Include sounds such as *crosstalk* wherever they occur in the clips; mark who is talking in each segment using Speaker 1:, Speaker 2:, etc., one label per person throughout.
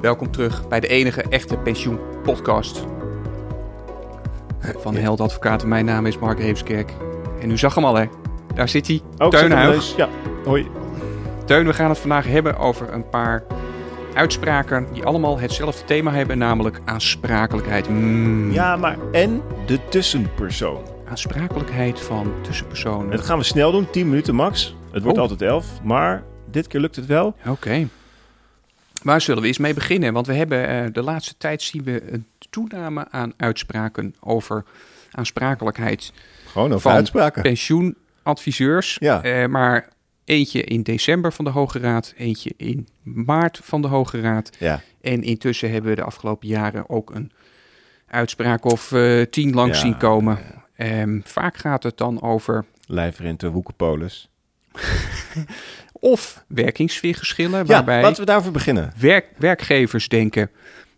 Speaker 1: Welkom terug bij de enige echte pensioenpodcast van Held Advocaten. Mijn naam is Mark Heemskerk. En u zag hem al, hè? Daar zit hij,
Speaker 2: Oh, ik zet
Speaker 1: Teun
Speaker 2: hem
Speaker 1: Huig.
Speaker 2: ineens. Ja, hoi.
Speaker 1: Teun, we gaan het vandaag hebben over een paar uitspraken die allemaal hetzelfde thema hebben, namelijk aansprakelijkheid. Mm,
Speaker 2: Ja, maar en de tussenpersoon.
Speaker 1: Aansprakelijkheid van tussenpersonen.
Speaker 2: Dat gaan we snel doen, 10 minuten max. Het wordt
Speaker 1: Oh.
Speaker 2: altijd 11, maar dit keer lukt het wel.
Speaker 1: Oké. Waar zullen we eens mee beginnen? Want we hebben eh, de laatste tijd zien we een toename aan uitspraken over aansprakelijkheid
Speaker 3: Gewoon over
Speaker 1: Van-
Speaker 3: uitspraken.
Speaker 1: *laughs* pensioenadviseurs.
Speaker 3: Ja.
Speaker 1: Eh, maar eentje in december van de Hoge Raad, eentje in maart van de Hoge Raad.
Speaker 3: Ja.
Speaker 1: En intussen hebben we de afgelopen jaren ook een uitspraak of eh, tien langs
Speaker 2: Ja.
Speaker 1: zien komen. Ehm, vaak gaat het dan over
Speaker 2: Lijfrente Woekerpolis.
Speaker 1: of werkingssfeergeschillen,
Speaker 3: Ja,
Speaker 1: waarbij
Speaker 3: laten we daarvoor beginnen.
Speaker 1: werk, werkgevers denken...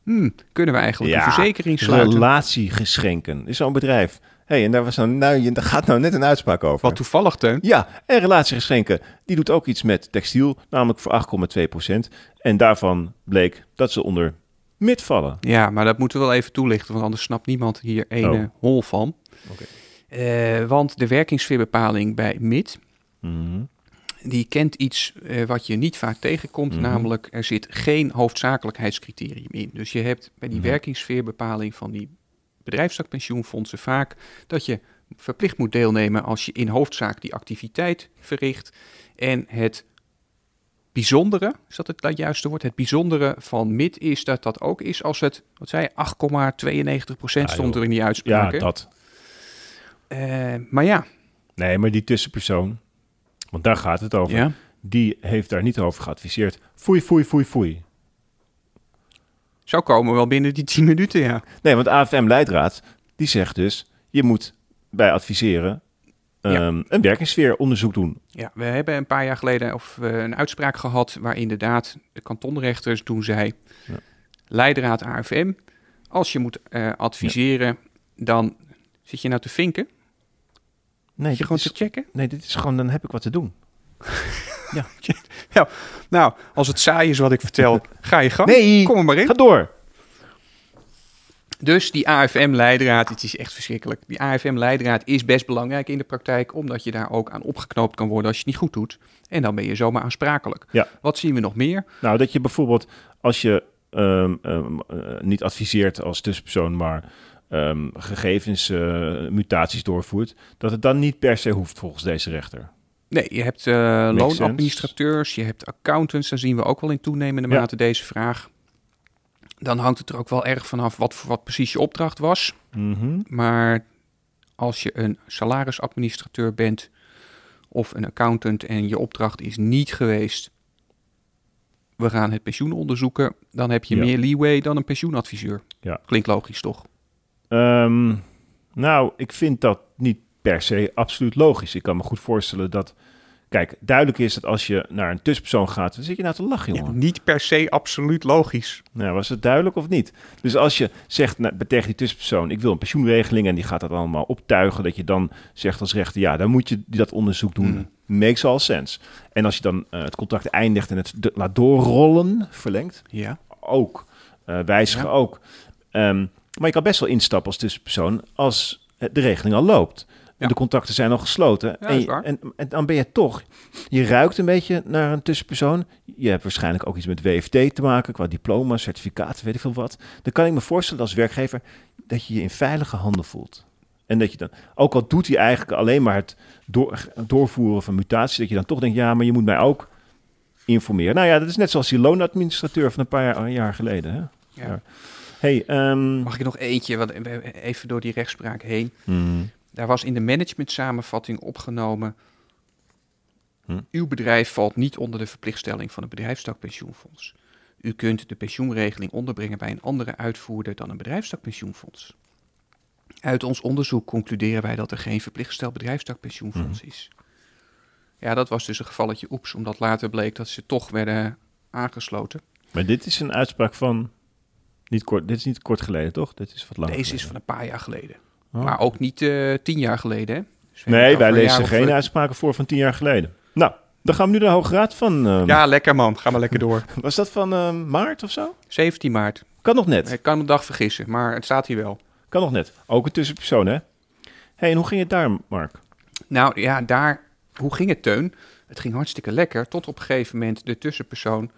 Speaker 1: Hmm, kunnen we eigenlijk
Speaker 2: Ja,
Speaker 1: een verzekering sluiten?
Speaker 2: Relatiegeschenken. Is zo'n bedrijf. hey, en daar, was nou, nou, je- daar gaat nou net een uitspraak over.
Speaker 1: Wat toevallig, Teun.
Speaker 2: Ja, en relatiegeschenken. Die doet ook iets met textiel, namelijk voor 8,2%. En daarvan bleek dat ze onder mid vallen.
Speaker 1: Ja, maar dat moeten we wel even toelichten, want anders snapt niemand hier een
Speaker 2: Oh.
Speaker 1: eh, hol van.
Speaker 2: Oké.
Speaker 1: Eh, want de werkingssfeerbepaling bij MID,
Speaker 2: Mhm.
Speaker 1: die kent iets eh, wat je niet vaak tegenkomt,
Speaker 2: Mhm.
Speaker 1: namelijk er zit geen hoofdzakelijkheidscriterium in. Dus je hebt bij die
Speaker 2: Mhm.
Speaker 1: werkingssfeerbepaling van die bedrijfstakpensioenfondsen vaak dat je verplicht moet deelnemen als je in hoofdzaak die activiteit verricht. En het bijzondere, is dat het dat juiste woord? Het bijzondere van MID is dat dat ook is als het, wat zei je, 8,92
Speaker 2: Ja,
Speaker 1: stond
Speaker 2: joh.
Speaker 1: er in die
Speaker 2: Ja,
Speaker 1: uitspraak. hè?
Speaker 2: dat.
Speaker 1: Eh, maar ja,
Speaker 2: Nee, maar die tussenpersoon, want daar gaat het over.
Speaker 1: ja,
Speaker 2: die heeft daar niet over geadviseerd. Foei, foei, foei, foei.
Speaker 1: zo komen we wel binnen die 10 minuten, ja.
Speaker 2: Nee, want AFM-leidraad, die zegt dus... je moet bij adviseren
Speaker 1: Ja.
Speaker 2: ehm, een werkingssfeeronderzoek doen.
Speaker 1: Ja, we hebben een paar jaar geleden of, we een uitspraak gehad waar inderdaad de kantonrechters toen zei,
Speaker 2: Ja.
Speaker 1: leidraad AFM, als je moet eh, adviseren, dan zit je nou te vinken,
Speaker 2: Nee,
Speaker 1: zit je gewoon te checken.
Speaker 2: nee, dit is gewoon, dan heb ik wat te doen.
Speaker 1: *laughs* Nou, als het saai is wat ik vertel, *laughs* ga je gang.
Speaker 2: Nee,
Speaker 1: Kom er maar in.
Speaker 2: ga door.
Speaker 1: Dus die AFM-leidraad, het is echt verschrikkelijk. Die AFM-leidraad is best belangrijk in de praktijk, omdat je daar ook aan opgeknoopt kan worden als je het niet goed doet. En dan ben je zomaar aansprakelijk.
Speaker 2: Ja.
Speaker 1: Wat zien we nog meer?
Speaker 2: Nou, dat je bijvoorbeeld als je ehm, ehm, eh, niet adviseert als tussenpersoon... maar ehm, gegevens, eh, mutaties doorvoert... dat het dan niet per se hoeft volgens deze rechter.
Speaker 1: Nee, je hebt eh,
Speaker 2: sense.
Speaker 1: loonadministrateurs, je hebt accountants. Daar zien we ook wel in toenemende
Speaker 2: Ja.
Speaker 1: mate deze vraag. Dan hangt het er ook wel erg vanaf wat, voor- wat precies je opdracht was.
Speaker 2: Mhm.
Speaker 1: Maar als je een salarisadministrateur bent of een accountant en je opdracht is niet geweest, we gaan het pensioen onderzoeken, dan heb je
Speaker 2: Ja.
Speaker 1: meer leeway dan een pensioenadviseur.
Speaker 2: Ja.
Speaker 1: Klinkt logisch, toch?
Speaker 2: Ehm, nou, ik vind dat niet per se absoluut logisch. Ik kan me goed voorstellen dat... Kijk, duidelijk is dat als je naar een tussenpersoon gaat... dan zit je nou te lachen, jongen.
Speaker 1: niet per se absoluut logisch.
Speaker 2: Nou, was het duidelijk of niet? Dus als je zegt nou, tegen die tussenpersoon... ik wil een pensioenregeling en die gaat dat allemaal optuigen... dat je dan zegt als rechter... ja, dan moet je dat onderzoek doen. Makes all sense. En als je dan eh, het contract eindigt en het d- laat doorrollen, verlengt...
Speaker 1: Ja.
Speaker 2: ook. eh wijzigen
Speaker 1: Ja.
Speaker 2: ook. Ehm, maar je kan best wel instappen als tussenpersoon als eh, de regeling al loopt.
Speaker 1: Ja.
Speaker 2: De contacten zijn al gesloten.
Speaker 1: Ja,
Speaker 2: en,
Speaker 1: is
Speaker 2: je-
Speaker 1: waar.
Speaker 2: en, en dan ben je toch. Je ruikt een beetje naar een tussenpersoon. Je hebt waarschijnlijk ook iets met WFT te maken, qua diploma, certificaat, weet ik veel wat. Dan kan ik me voorstellen als werkgever dat je je in veilige handen voelt. En dat je dan, ook al doet hij eigenlijk alleen maar het door, doorvoeren van mutaties, dat je dan toch denkt, ja, maar je moet mij ook informeren. Nou ja, dat is net zoals die loonadministrateur van een paar jaar, eh, jaar geleden. Hè?
Speaker 1: ja.
Speaker 2: Hey, ehm,
Speaker 1: Mag ik nog eentje, want we- we- even door die rechtspraak heen.
Speaker 2: hmm,
Speaker 1: Daar was in de management samenvatting opgenomen.
Speaker 2: Hm?
Speaker 1: Uw bedrijf valt niet onder de verplichtstelling van het bedrijfstakpensioenfonds. U kunt de pensioenregeling onderbrengen bij een andere uitvoerder dan een bedrijfstakpensioenfonds. Uit ons onderzoek concluderen wij dat er geen verplichtsteld bedrijfstakpensioenfonds
Speaker 2: Hm.
Speaker 1: is. Ja, dat was dus een gevalletje oeps, omdat later bleek dat ze toch werden aangesloten.
Speaker 2: maar dit is een uitspraak van niet kort. Dit is niet kort geleden, toch? Dit is wat langer.
Speaker 1: Deze is
Speaker 2: geleden.
Speaker 1: van een paar jaar geleden,
Speaker 2: Ah, Oh.
Speaker 1: maar ook niet eh, tien jaar geleden. Hè? Dus we hebben het
Speaker 2: Nee,
Speaker 1: over
Speaker 2: wij
Speaker 1: een jaar
Speaker 2: lezen
Speaker 1: of,
Speaker 2: geen
Speaker 1: eh,
Speaker 2: uitspraken voor van tien jaar geleden. Nou, Dan gaan we nu naar de Hoge Raad van. ehm,
Speaker 1: Ja, lekker man. Ga maar lekker door.
Speaker 2: Was dat van ehm, maart of zo?
Speaker 1: 17 maart.
Speaker 2: Kan nog net.
Speaker 1: Ik kan me een dag vergissen, maar het staat hier wel.
Speaker 2: Kan nog net. Ook een tussenpersoon, hè? hey, en hoe ging het daar, Mark?
Speaker 1: Nou ja, daar, hoe ging het, Teun? Het ging hartstikke lekker, tot op een gegeven moment de tussenpersoon,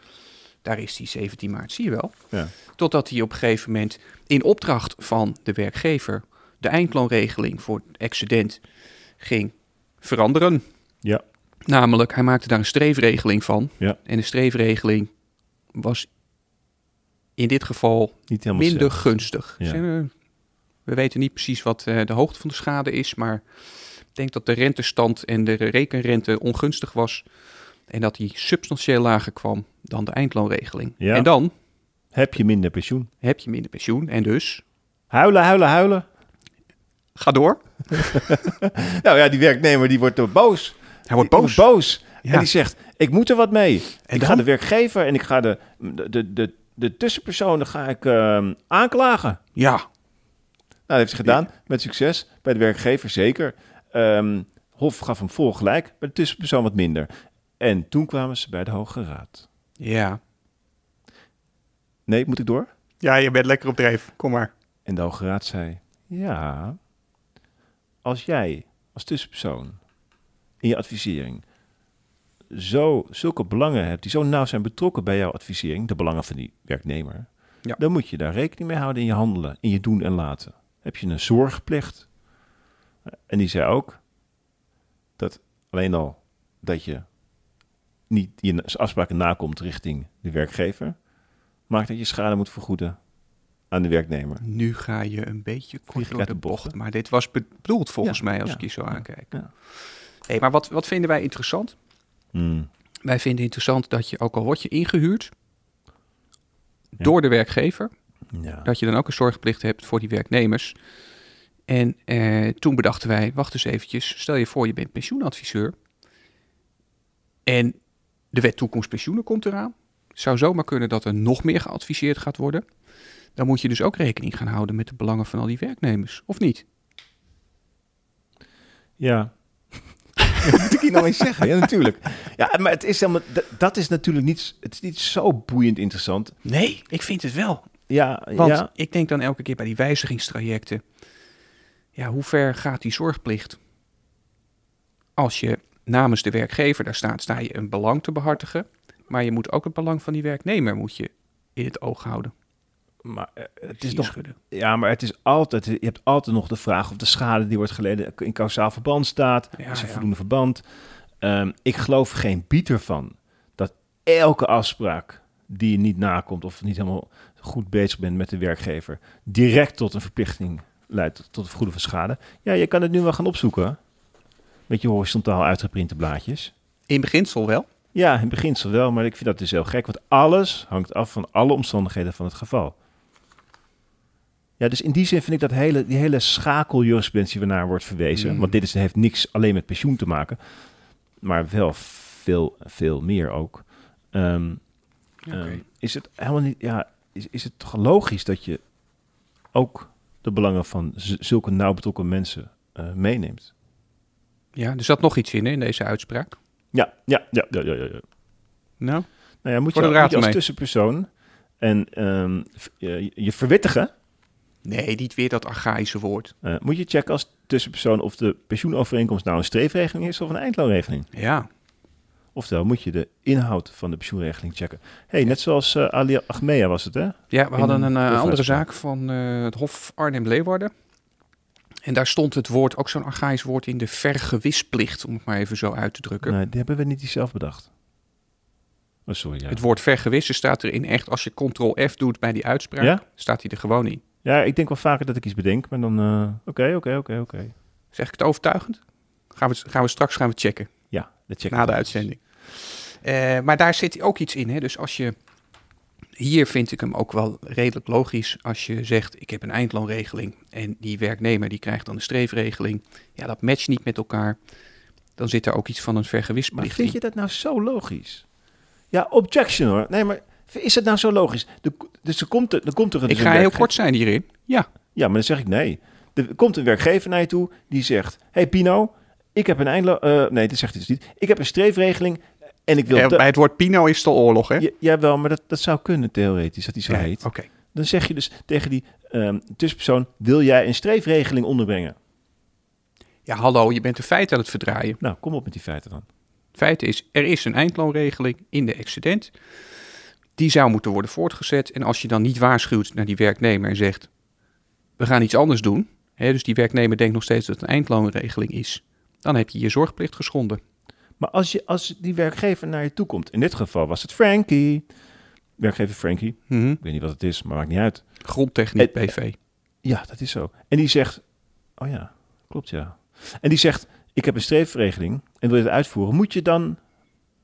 Speaker 1: daar is die 17 maart, zie je wel.
Speaker 2: Ja.
Speaker 1: Totdat hij op een gegeven moment in opdracht van de werkgever de eindloonregeling voor het excedent ging veranderen.
Speaker 2: Ja.
Speaker 1: Namelijk, hij maakte daar een streefregeling van.
Speaker 2: Ja.
Speaker 1: En de streefregeling was in dit geval
Speaker 2: Niet helemaal
Speaker 1: minder
Speaker 2: sterk.
Speaker 1: gunstig.
Speaker 2: Ja.
Speaker 1: Zijn we- we weten niet precies wat eh, de hoogte van de schade is, maar ik denk dat de rentestand en de rekenrente ongunstig was. En dat die substantieel lager kwam dan de eindloonregeling.
Speaker 2: Ja.
Speaker 1: En dan
Speaker 2: Heb je minder pensioen?
Speaker 1: heb je minder pensioen en dus
Speaker 2: Huilen, huilen, huilen.
Speaker 1: ga door.
Speaker 2: Nou ja, die werknemer die wordt er boos.
Speaker 1: Hij wordt
Speaker 2: Die
Speaker 1: boos.
Speaker 2: wordt boos.
Speaker 1: Ja.
Speaker 2: En die zegt, ik moet er wat mee.
Speaker 1: En
Speaker 2: ik
Speaker 1: dan?
Speaker 2: ga de werkgever en ik ga de, de, de, de, de tussenpersonen ga ik, ehm, aanklagen.
Speaker 1: Ja,
Speaker 2: Nou, dat heeft ze gedaan met succes. Bij de werkgever zeker. Ehm, Hof gaf hem vol gelijk, maar de tussenpersoon wat minder. En toen kwamen ze bij de Hoge Raad.
Speaker 1: ja.
Speaker 2: Nee, moet ik door?
Speaker 1: Ja, je bent lekker op dreef. Kom maar.
Speaker 2: En de Hoge Raad zei: Ja, als jij als tussenpersoon in je advisering zo, zulke belangen hebt die zo nauw zijn betrokken bij jouw advisering, de belangen van die werknemer,
Speaker 1: Ja.
Speaker 2: dan moet je daar rekening mee houden in je handelen, in je doen en laten. Heb je een zorgplicht? En die zei ook dat alleen al dat je niet je afspraken nakomt richting de werkgever, maakt dat je schade moet vergoeden aan de werknemer.
Speaker 1: Nu ga je een beetje
Speaker 2: Vlieg
Speaker 1: kort
Speaker 2: ik
Speaker 1: door
Speaker 2: uit
Speaker 1: de
Speaker 2: de bocht,
Speaker 1: bocht. Maar dit was bedoeld volgens
Speaker 2: Ja,
Speaker 1: mij, als
Speaker 2: ja,
Speaker 1: ik je zo
Speaker 2: ja,
Speaker 1: aankijk.
Speaker 2: ja.
Speaker 1: Hé, maar wat, wat vinden wij interessant?
Speaker 2: Hmm.
Speaker 1: Wij vinden interessant dat je, ook al word je ingehuurd door de werkgever,
Speaker 2: Ja.
Speaker 1: dat je dan ook een zorgplicht hebt voor die werknemers. En eh, toen bedachten wij, wacht eens eventjes, stel je voor je bent pensioenadviseur en de wet toekomst pensioenen komt eraan. Zou zomaar kunnen dat er nog meer geadviseerd gaat worden. Dan moet je dus ook rekening gaan houden met de belangen van al die werknemers, of niet?
Speaker 2: ja. *laughs* dat moet ik hier nou eens zeggen. Ja, natuurlijk. Ja, maar het is helemaal, dat, dat is natuurlijk niet, het is niet zo boeiend interessant.
Speaker 1: Nee, ik vind het wel.
Speaker 2: Ja,
Speaker 1: Want
Speaker 2: ja.
Speaker 1: ik denk dan elke keer bij die wijzigingstrajecten. Ja, hoe ver gaat die zorgplicht? Als je namens de werkgever daar staat, sta je een belang te behartigen. Maar je moet ook het belang van die werknemer moet je in het oog houden.
Speaker 2: Maar, eh, het
Speaker 1: Zie
Speaker 2: is
Speaker 1: je
Speaker 2: nog,
Speaker 1: schudden.
Speaker 2: ja, maar het is altijd, je hebt altijd nog de vraag of de schade die wordt geleden in kausaal verband staat.
Speaker 1: Ja,
Speaker 2: is er
Speaker 1: ja.
Speaker 2: voldoende verband? Ehm, ik geloof geen bied ervan dat elke afspraak die je niet nakomt of niet helemaal goed bezig bent met de werkgever, direct tot een verplichting leidt, tot een vergoeden van schade. Ja, je kan het nu wel gaan opzoeken. Met je horizontaal uitgeprinte blaadjes.
Speaker 1: In beginsel wel.
Speaker 2: Ja, in beginsel wel, maar ik vind dat dus heel gek, want alles hangt af van alle omstandigheden van het geval. Ja, dus in die zin vind ik dat hele, die hele schakeljurisprudentie waarnaar wordt verwezen,
Speaker 1: Mm.
Speaker 2: want dit is, heeft niks alleen met pensioen te maken, maar wel veel, veel meer ook. Ehm, ehm, is het helemaal niet, ja, is, is het toch logisch dat je ook de belangen van z- zulke nauw betrokken mensen eh, meeneemt?
Speaker 1: Ja, er zat nog iets in, hè, in deze uitspraak.
Speaker 2: Ja, ja, ja, ja, ja, ja. ja.
Speaker 1: Nou,
Speaker 2: Nou ja, moet je,
Speaker 1: Voor de
Speaker 2: moet je
Speaker 1: raad
Speaker 2: als
Speaker 1: mee.
Speaker 2: tussenpersoon en ehm, v- je, je verwittigen,
Speaker 1: nee, niet weer dat archaïsche woord.
Speaker 2: eh, moet je checken als tussenpersoon of de pensioenovereenkomst nou een streefregeling is of een eindloonregeling.
Speaker 1: Ja,
Speaker 2: Oftewel moet je de inhoud van de pensioenregeling checken. hey, net zoals eh, Ali Achmea was het, hè?
Speaker 1: ja we
Speaker 2: In
Speaker 1: hadden een eh,
Speaker 2: hofuitspraak.
Speaker 1: andere zaak van eh, het Hof Arnhem-Leeuwarden. En daar stond het woord, ook zo'n archaïsch woord, in de vergewisplicht, om het maar even zo uit te drukken.
Speaker 2: Nee, die hebben we niet die zelf bedacht. Oh, sorry. Ja.
Speaker 1: Het woord vergewissen staat erin echt. Als je ctrl-f doet bij die uitspraak,
Speaker 2: Ja?
Speaker 1: staat hij er gewoon in.
Speaker 2: ja, ik denk wel vaker dat ik iets bedenk, maar dan... eh, Oké, oké, oké, oké.
Speaker 1: Zeg ik het overtuigend? Gaan we, gaan we straks gaan we checken,
Speaker 2: Ja, dat check ik
Speaker 1: na de
Speaker 2: wel.
Speaker 1: uitzending. Eh, maar daar zit ook iets in. Hè? Dus als je... Hier vind ik hem ook wel redelijk logisch als je zegt, ik heb een eindloonregeling en die werknemer die krijgt dan een streefregeling. Ja, dat matcht niet met elkaar. Dan zit daar ook iets van een
Speaker 2: Maar
Speaker 1: vergewisplicht
Speaker 2: vind je
Speaker 1: in.
Speaker 2: dat nou zo logisch? Ja, objection hoor. Nee, maar is het nou zo logisch? De, dus er komt, er, er komt er een...
Speaker 1: Ik
Speaker 2: dus een
Speaker 1: ga heel
Speaker 2: werkge-
Speaker 1: kort zijn hierin. Ja,
Speaker 2: Ja, maar dan zeg ik nee. Er komt een werkgever naar je toe die zegt... hey Pino, Ik heb een eindlo... eh, nee, dat zegt hij dus niet. Ik heb een streefregeling en ik wil...
Speaker 1: Eh,
Speaker 2: da-
Speaker 1: bij het woord Pino is de oorlog, hè?
Speaker 2: Ja, jawel, maar dat, dat zou kunnen theoretisch, dat hij zo
Speaker 1: Ja,
Speaker 2: heet.
Speaker 1: Oké.
Speaker 2: Dan zeg je dus tegen die ehm, tussenpersoon, wil jij een streefregeling onderbrengen?
Speaker 1: Ja, hallo, je bent de feiten aan het verdraaien.
Speaker 2: Nou, kom op met die feiten dan.
Speaker 1: Feit is, er is een eindloonregeling in de excedent. Die zou moeten worden voortgezet. En als je dan niet waarschuwt naar die werknemer en zegt, we gaan iets anders doen. Hè, dus die werknemer denkt nog steeds dat het een eindloonregeling is. Dan heb je je zorgplicht geschonden.
Speaker 2: Maar als, je, als die werkgever naar je toe komt, in dit geval was het Frankie. Werkgever Frankie,
Speaker 1: Mhm.
Speaker 2: ik weet niet wat het is, maar maakt niet uit.
Speaker 1: Grondtechniek
Speaker 2: Eh,
Speaker 1: BV.
Speaker 2: Ja, dat is zo. En die zegt, oh ja, klopt ja. En die zegt, ik heb een streefregeling en wil je het uitvoeren. Moet je dan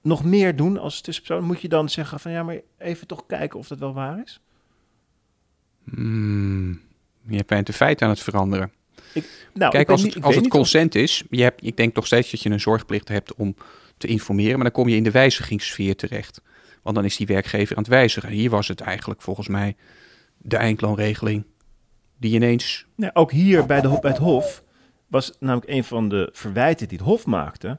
Speaker 2: nog meer doen als tussenpersoon? Moet je dan zeggen van ja, maar even toch kijken of dat wel waar is?
Speaker 1: Hmm. Je bent de feiten aan het veranderen.
Speaker 2: Nou,
Speaker 1: Kijk,
Speaker 2: ik weet
Speaker 1: als
Speaker 2: niet-
Speaker 1: het,
Speaker 2: ik
Speaker 1: als
Speaker 2: weet
Speaker 1: het
Speaker 2: niet of-
Speaker 1: consent is, je hebt, ik denk nog steeds dat je een zorgplicht hebt om te informeren, maar dan kom je in de wijzigingssfeer terecht. Want dan is die werkgever aan het wijzigen. Hier was het eigenlijk volgens mij de eindloonregeling die ineens...
Speaker 2: Nou, ook hier bij, de, Hof- bij het Hof was namelijk een van de verwijten die het Hof maakte.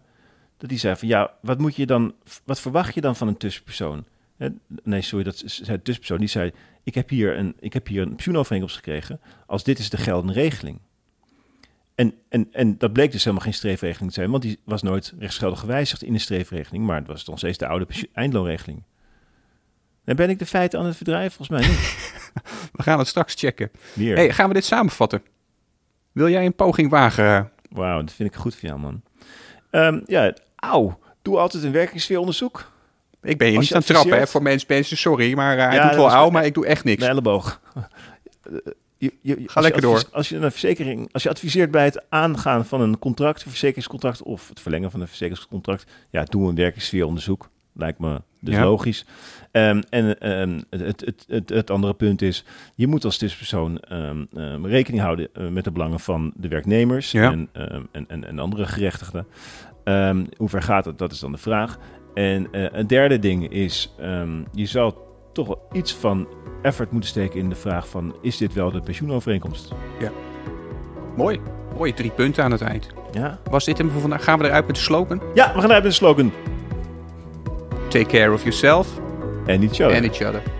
Speaker 2: Dat die zei van ja, wat, moet je dan, wat verwacht je dan van een tussenpersoon? Hè, Nee, sorry, dat zei de tussenpersoon. Die zei, ik heb hier een, ik heb hier een pensioenovereenkomst gekregen als dit is de geldende regeling. En, en, en dat bleek dus helemaal geen streefregeling te zijn, want die was nooit rechtsgeldig gewijzigd in de streefregeling, maar het was nog steeds de oude pensio- eindloonregeling. Dan ben ik de feiten aan het verdrijven, volgens mij niet.
Speaker 1: We gaan het straks checken.
Speaker 2: Meer.
Speaker 1: Hey, gaan we dit samenvatten? Wil jij een poging wagen?
Speaker 2: Wauw, dat vind ik goed van jou, man. Ehm, ja, auw. Doe altijd een werkingssfeeronderzoek.
Speaker 1: Ik ben je
Speaker 2: Als
Speaker 1: niet
Speaker 2: je
Speaker 1: aan het trappen, hè,
Speaker 2: adviseert-
Speaker 1: voor mensen, mensen, sorry, maar eh, hij
Speaker 2: Ja,
Speaker 1: doet
Speaker 2: dat
Speaker 1: wel
Speaker 2: is
Speaker 1: auw,
Speaker 2: waar.
Speaker 1: maar ik doe echt niks.
Speaker 2: Mijn elleboog. *laughs* Eh, je- je- je- als
Speaker 1: lekker
Speaker 2: je advies- Als je, een verzekering, als je adviseert bij het aangaan van een contract, een verzekeringscontract of het verlengen van een verzekeringscontract, ja, doe een werkingssfeeronderzoek. Lijkt me dus
Speaker 1: Ja.
Speaker 2: logisch. Ehm, en ehm, het, het, het, het andere punt is, je moet als tussenpersoon ehm, ehm, rekening houden eh, met de belangen van de werknemers
Speaker 1: Ja.
Speaker 2: en, ehm, en, en, en andere gerechtigden. Ehm, hoe ver gaat het? Dat is dan de vraag. En eh, een derde ding is, ehm, je zou toch wel iets van effort moeten steken in de vraag van, is dit wel de pensioenovereenkomst?
Speaker 1: Mooi. Mooi, drie punten aan het eind.
Speaker 2: Ja,
Speaker 1: Was dit hem voor vandaag? Gaan we eruit met de slogan?
Speaker 2: ja we gaan uit met de slogan.
Speaker 1: Take care of yourself
Speaker 2: En niet show.
Speaker 1: and each other.